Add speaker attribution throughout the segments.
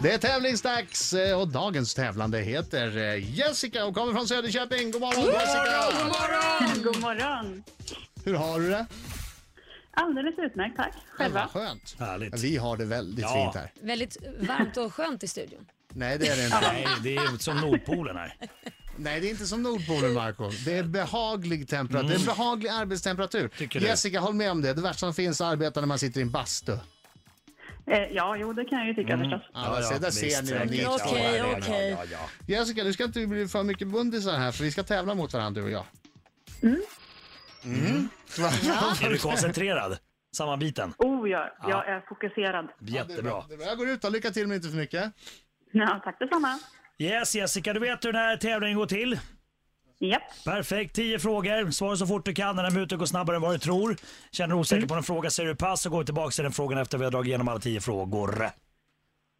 Speaker 1: Det är tävlingsdags eh, och dagens tävlande heter eh, Jessica och kommer från Söderköping. God morgon Jessica!
Speaker 2: God morgon!
Speaker 1: Hur har du det?
Speaker 2: Alldeles utmärkt, tack. Själva?
Speaker 1: Vad skönt.
Speaker 3: Härligt.
Speaker 1: Vi har det väldigt
Speaker 3: Ja.
Speaker 1: fint här.
Speaker 4: Väldigt varmt och skönt i studion.
Speaker 1: Nej det är det inte.
Speaker 3: Nej, det är som Nordpolen här.
Speaker 1: Nej det är inte som Nordpolen Marco. Det är behaglig temperatur. Det är behaglig arbetstemperatur.
Speaker 3: Mm. Tycker du?
Speaker 1: Jessica håll med om det. Det värsta som finns är att arbeta när man sitter i en bastu.
Speaker 2: Eh, ja, jo, det kan jag ju tycka förstås.
Speaker 1: Ja, där ser- där ser
Speaker 3: visst,
Speaker 1: ni dem. Ni
Speaker 3: säkert.
Speaker 4: två. Okej,
Speaker 3: Ja,
Speaker 4: okej.
Speaker 3: Ja, ja,
Speaker 1: Jessica, nu ska inte vi bli för mycket bundisar här för vi ska tävla mot varandra du och jag. Mm.
Speaker 3: ja. Är du koncentrerad? Samma biten?
Speaker 2: Oh, ja, jag är fokuserad.
Speaker 1: Det är bra.
Speaker 3: Jättebra.
Speaker 1: Det är bra. Jag går ut då. Lycka till men inte för mycket.
Speaker 2: Ja, tack detsamma.
Speaker 3: Yes Jessica, du vet hur den här tävlingen går till.
Speaker 2: Japp,
Speaker 3: Perfekt, 10 frågor. Svara så fort du kan. Den här minuten går snabbare än vad du tror. Känner du osäker på en fråga säger du pass så går vi tillbaka till den frågan efter vi har dragit igenom alla 10 frågor.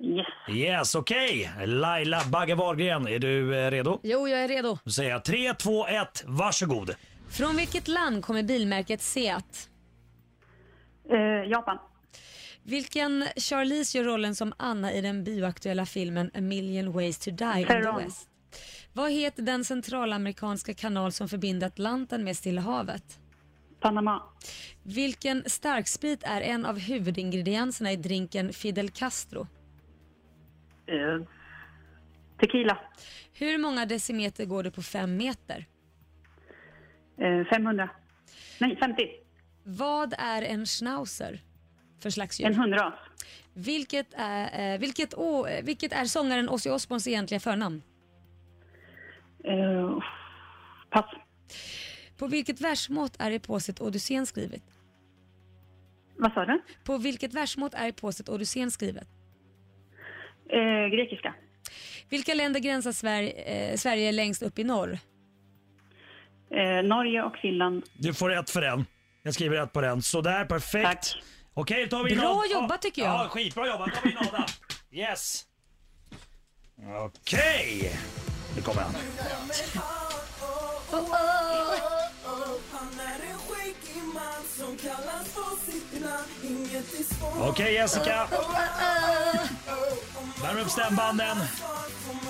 Speaker 2: yes.
Speaker 3: Yes, okej. Laila Bagge Wahlgren, är du eh, redo?
Speaker 4: Jo, jag är redo.
Speaker 3: Då säger jag 3, 2, 1, varsågod.
Speaker 4: Från vilket land kommer bilmärket Seat?
Speaker 2: Eh, Japan.
Speaker 4: Vilken Charlize gör rollen som Anna i den bioaktuella filmen A million ways to die in the
Speaker 2: Perron.
Speaker 4: West? Vad heter den centralamerikanska kanal som förbinder Atlanten med Stilla havet?
Speaker 2: Panama.
Speaker 4: Vilken starksprit är en av huvudingredienserna i drinken Fidel Castro?
Speaker 2: Eh, tequila.
Speaker 4: Hur många decimeter går det på fem meter?
Speaker 2: Eh, 500. Nej, 50.
Speaker 4: Vad är en schnauzer för slags
Speaker 2: En
Speaker 4: djur?
Speaker 2: hundras.
Speaker 4: Vilket är, eh, vilket, å, eh, vilket är sångaren Ozzy Osbournes egentliga förnamn?
Speaker 2: Eh, pass.
Speaker 4: På vilket versmått är epåset Odysseen skrivet?
Speaker 2: Vad sa du?
Speaker 4: På vilket versmått är epåset Odysseen skrivet?
Speaker 2: Eh, grekiska.
Speaker 4: Vilka länder gränsar Sverige, eh, Sverige längst upp i norr?
Speaker 2: Eh, Norge och Finland.
Speaker 3: Du får rätt för den. Jag skriver rätt på den. Sådär, perfekt.
Speaker 2: Tack.
Speaker 3: Okej, då tar vi in
Speaker 4: Bra
Speaker 3: Ad-
Speaker 4: jobbat,
Speaker 3: Ja,
Speaker 4: tycker jag.
Speaker 3: Ja, skitbra jobbat. Då tar vi in Adam. Yes. Okej. Nu kommer han. Okej Jessica, värm upp stämbanden.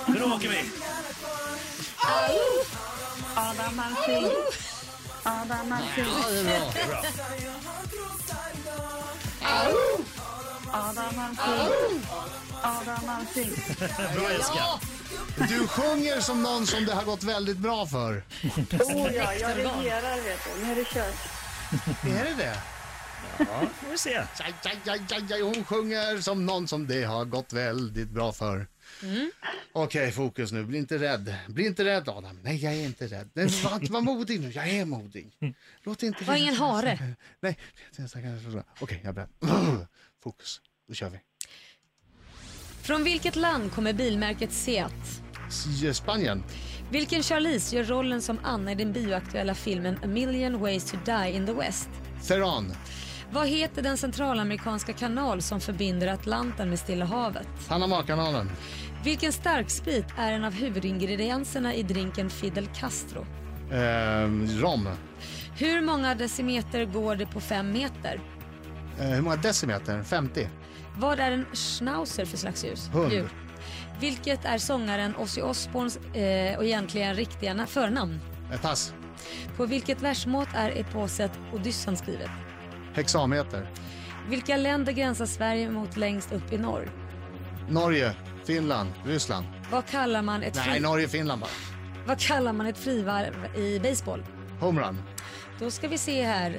Speaker 3: Nu åker vi.
Speaker 2: Adam Alsing. Adam Alsing. Adam Alsing. Adam Alsing.
Speaker 3: Bra Jessica.
Speaker 1: Du sjunger som någon som det har gått väldigt bra för.
Speaker 2: Oh ja, jag regerar vet du. Nu är det kört.
Speaker 1: Är det det?
Speaker 3: Får vi se.
Speaker 1: Aj, aj, aj, aj, aj. Hon sjunger som någon som det har gått väldigt bra för.
Speaker 4: Mm.
Speaker 1: Okej, fokus nu. Bli inte rädd. Bli inte rädd, Adam. Nej, jag är inte rädd. Nej, var, var modig nu. Jag är modig. Låt inte...
Speaker 4: Var ingen hare.
Speaker 1: Nej. Okej, jag är beredd. Fokus. Då kör vi.
Speaker 4: Från vilket land kommer bilmärket Seat?
Speaker 1: S- Spanien.
Speaker 4: Vilken Charlize gör rollen som Anna i den bioaktuella filmen A million ways to die in the West?
Speaker 1: Teheran.
Speaker 4: Vad heter den centralamerikanska kanal som förbinder Atlanten med Stilla havet?
Speaker 1: Panamakanalen.
Speaker 4: Vilken starksprit är en av huvudingredienserna i drinken Fidel Castro?
Speaker 1: Eh, rom.
Speaker 4: Hur många decimeter går det på fem meter?
Speaker 1: Eh, hur många decimeter? 50.
Speaker 4: Vad är en schnauzer för slags ljus?
Speaker 1: Hund.
Speaker 4: djur? Vilket är sångaren Ozzy Osbournes eh, och egentligen riktiga na- förnamn?
Speaker 1: Eh, pass.
Speaker 4: På vilket versmått är eposet Odyssen skrivet?
Speaker 1: Hexameter.
Speaker 4: Vilka länder gränsar Sverige mot längst upp i norr?
Speaker 1: Norge, Finland, Ryssland.
Speaker 4: Vad kallar man ett,
Speaker 1: Nej,
Speaker 4: fri-
Speaker 1: Norge, Finland bara.
Speaker 4: Vad kallar man ett frivarv i baseball?
Speaker 1: Homerun.
Speaker 4: Då ska vi se här.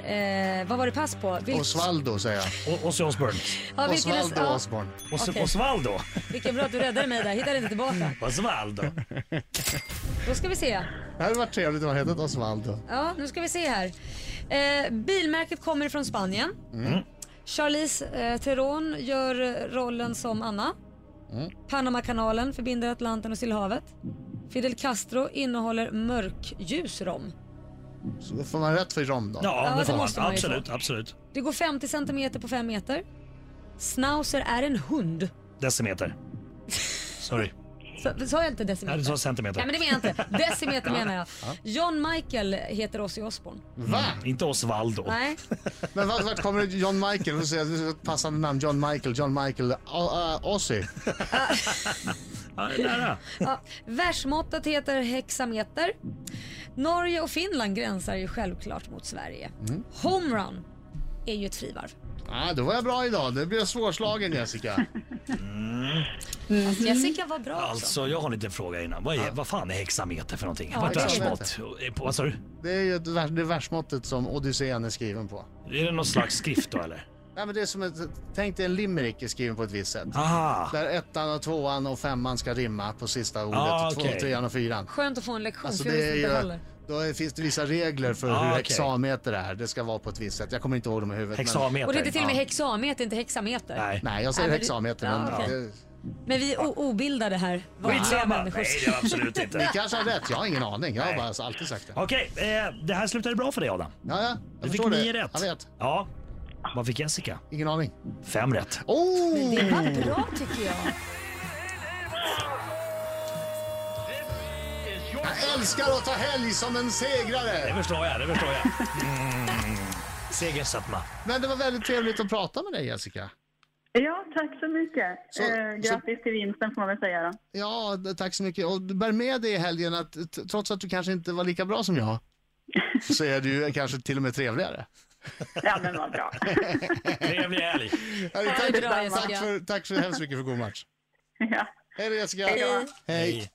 Speaker 4: Eh, vad var det pass på? Vilk-
Speaker 1: Osvaldo säger jag.
Speaker 3: O- Ozzy Osbourne.
Speaker 4: ja, vilken-
Speaker 1: Osvaldo
Speaker 4: ja,
Speaker 1: Osborn.
Speaker 3: Os-
Speaker 4: Okej.
Speaker 3: Osvaldo.
Speaker 4: Vilken bra att du räddade mig där. Hittade inte tillbaka.
Speaker 3: Osvaldo.
Speaker 4: Då ska vi se.
Speaker 1: Det hade varit trevligt om han hetat Osvaldo.
Speaker 4: Ja, nu ska vi se här. Eh, bilmärket kommer från Spanien.
Speaker 3: Mm.
Speaker 4: Charlize eh, Theron gör eh, rollen som Anna.
Speaker 3: Mm.
Speaker 4: Panamakanalen förbinder Atlanten och Stillhavet. Fidel Castro innehåller mörkljus rom.
Speaker 1: Så då får man rätt för rom då.
Speaker 3: Ja, det
Speaker 4: det
Speaker 3: får man.
Speaker 4: måste man ju få.
Speaker 3: Absolut, absolut.
Speaker 4: Det går 50 centimeter på 5 meter. Schnauzer är en hund.
Speaker 3: Decimeter. Sorry.
Speaker 4: Så- Sa jag inte
Speaker 3: Nej,
Speaker 4: decimeter?
Speaker 3: du sa centimeter.
Speaker 4: Nej men det menar jag inte. Decimeter menar jag. John Michael heter Ozzy Osbourne.
Speaker 1: Va?
Speaker 3: Inte Osvaldo.
Speaker 4: Nej,
Speaker 1: Men vart, vart kommer det John Michael? Och säger ett passande namn John Michael, John Michael, O- eh, Ozzy.
Speaker 3: Ja, det är nära.
Speaker 4: Ja, världsmåttet heter hexameter. Norge och Finland gränsar ju självklart mot Sverige.
Speaker 1: Mm.
Speaker 4: Homerun är ju ett frivarv.
Speaker 1: Ah, då var jag bra idag. Det blev svårslagen Jessica.
Speaker 4: Jessica var bra också.
Speaker 3: Alltså, jag har en liten fråga innan. Vad, är, vad fan är hexameter för någonting?
Speaker 4: Ja,
Speaker 3: Vad är
Speaker 4: det är-
Speaker 3: världsmått? Eh, på- Vad sa du?
Speaker 1: Det är ju ett vers- det versmåttet som Odysséen är skriven på.
Speaker 3: Är det någon slags skrift då eller?
Speaker 1: Nej, men det är som ett, tänk dig en limerick är skriven på ett visst sätt.
Speaker 3: Aha!
Speaker 1: Där ettan och tvåan och femman ska rimma på sista ordet.
Speaker 3: Ah,
Speaker 1: Två,
Speaker 3: okej.
Speaker 1: trean och fyran.
Speaker 4: Skönt att få en lektion
Speaker 1: Alltså
Speaker 4: för jag
Speaker 1: det är
Speaker 4: visste inte
Speaker 1: ju,
Speaker 4: heller.
Speaker 1: då finns det vissa regler för
Speaker 3: Ah,
Speaker 1: hur
Speaker 3: okej.
Speaker 1: hexameter är. Det ska vara på ett visst sätt. Jag kommer inte ihåg dem i huvudet. men-
Speaker 3: Hexameter.
Speaker 4: Och det heter till och med
Speaker 1: Ja.
Speaker 4: hexameter, inte hexameter.
Speaker 3: Nej.
Speaker 1: Nej, jag säger
Speaker 4: Nej, men-
Speaker 1: hexameter. Men
Speaker 4: Ja, okej.
Speaker 1: det,
Speaker 4: Men vi är o- obildade här. vanliga
Speaker 3: Skitsamma! Nej,
Speaker 4: människor.
Speaker 3: det är absolut
Speaker 1: ni
Speaker 3: inte.
Speaker 1: kanske har rätt. Jag har ingen aning. Jag har
Speaker 3: Nej.
Speaker 1: bara alltid sagt det.
Speaker 3: Okej, eh, det här slutade bra för dig Adam.
Speaker 1: Ja, ja.
Speaker 3: Du
Speaker 1: Jag
Speaker 3: fick
Speaker 1: förstår
Speaker 3: nio
Speaker 1: det.
Speaker 3: rätt.
Speaker 1: Jag vet.
Speaker 3: Ja. Vad fick Jessica?
Speaker 1: Ingen aning.
Speaker 3: Fem rätt.
Speaker 1: Oh!
Speaker 4: Det var bra tycker jag.
Speaker 1: Jag älskar att ta helg som en
Speaker 3: Det
Speaker 1: segrare!
Speaker 3: förstår jag, det förstår jag. Mm. Segersatma.
Speaker 1: Men det var väldigt trevligt att prata med dig Jessica.
Speaker 2: Ja, tack så mycket.
Speaker 1: Så-
Speaker 2: eh,
Speaker 1: så-
Speaker 2: grattis till vinsten får man väl säga då.
Speaker 1: Ja, d- tack så mycket. Och du bär med dig i helgen att t- trots att du kanske inte var lika bra som jag så är du kanske till och med trevligare.
Speaker 2: Ja, men vad bra.
Speaker 3: Trevlig helg.
Speaker 1: Hörru, Tack,
Speaker 4: bra,
Speaker 1: tack,
Speaker 4: Jessica.
Speaker 1: för, tack så hemskt mycket för god match.
Speaker 2: ja.
Speaker 1: Hej då Jessica!
Speaker 2: Hej då.
Speaker 1: Hej.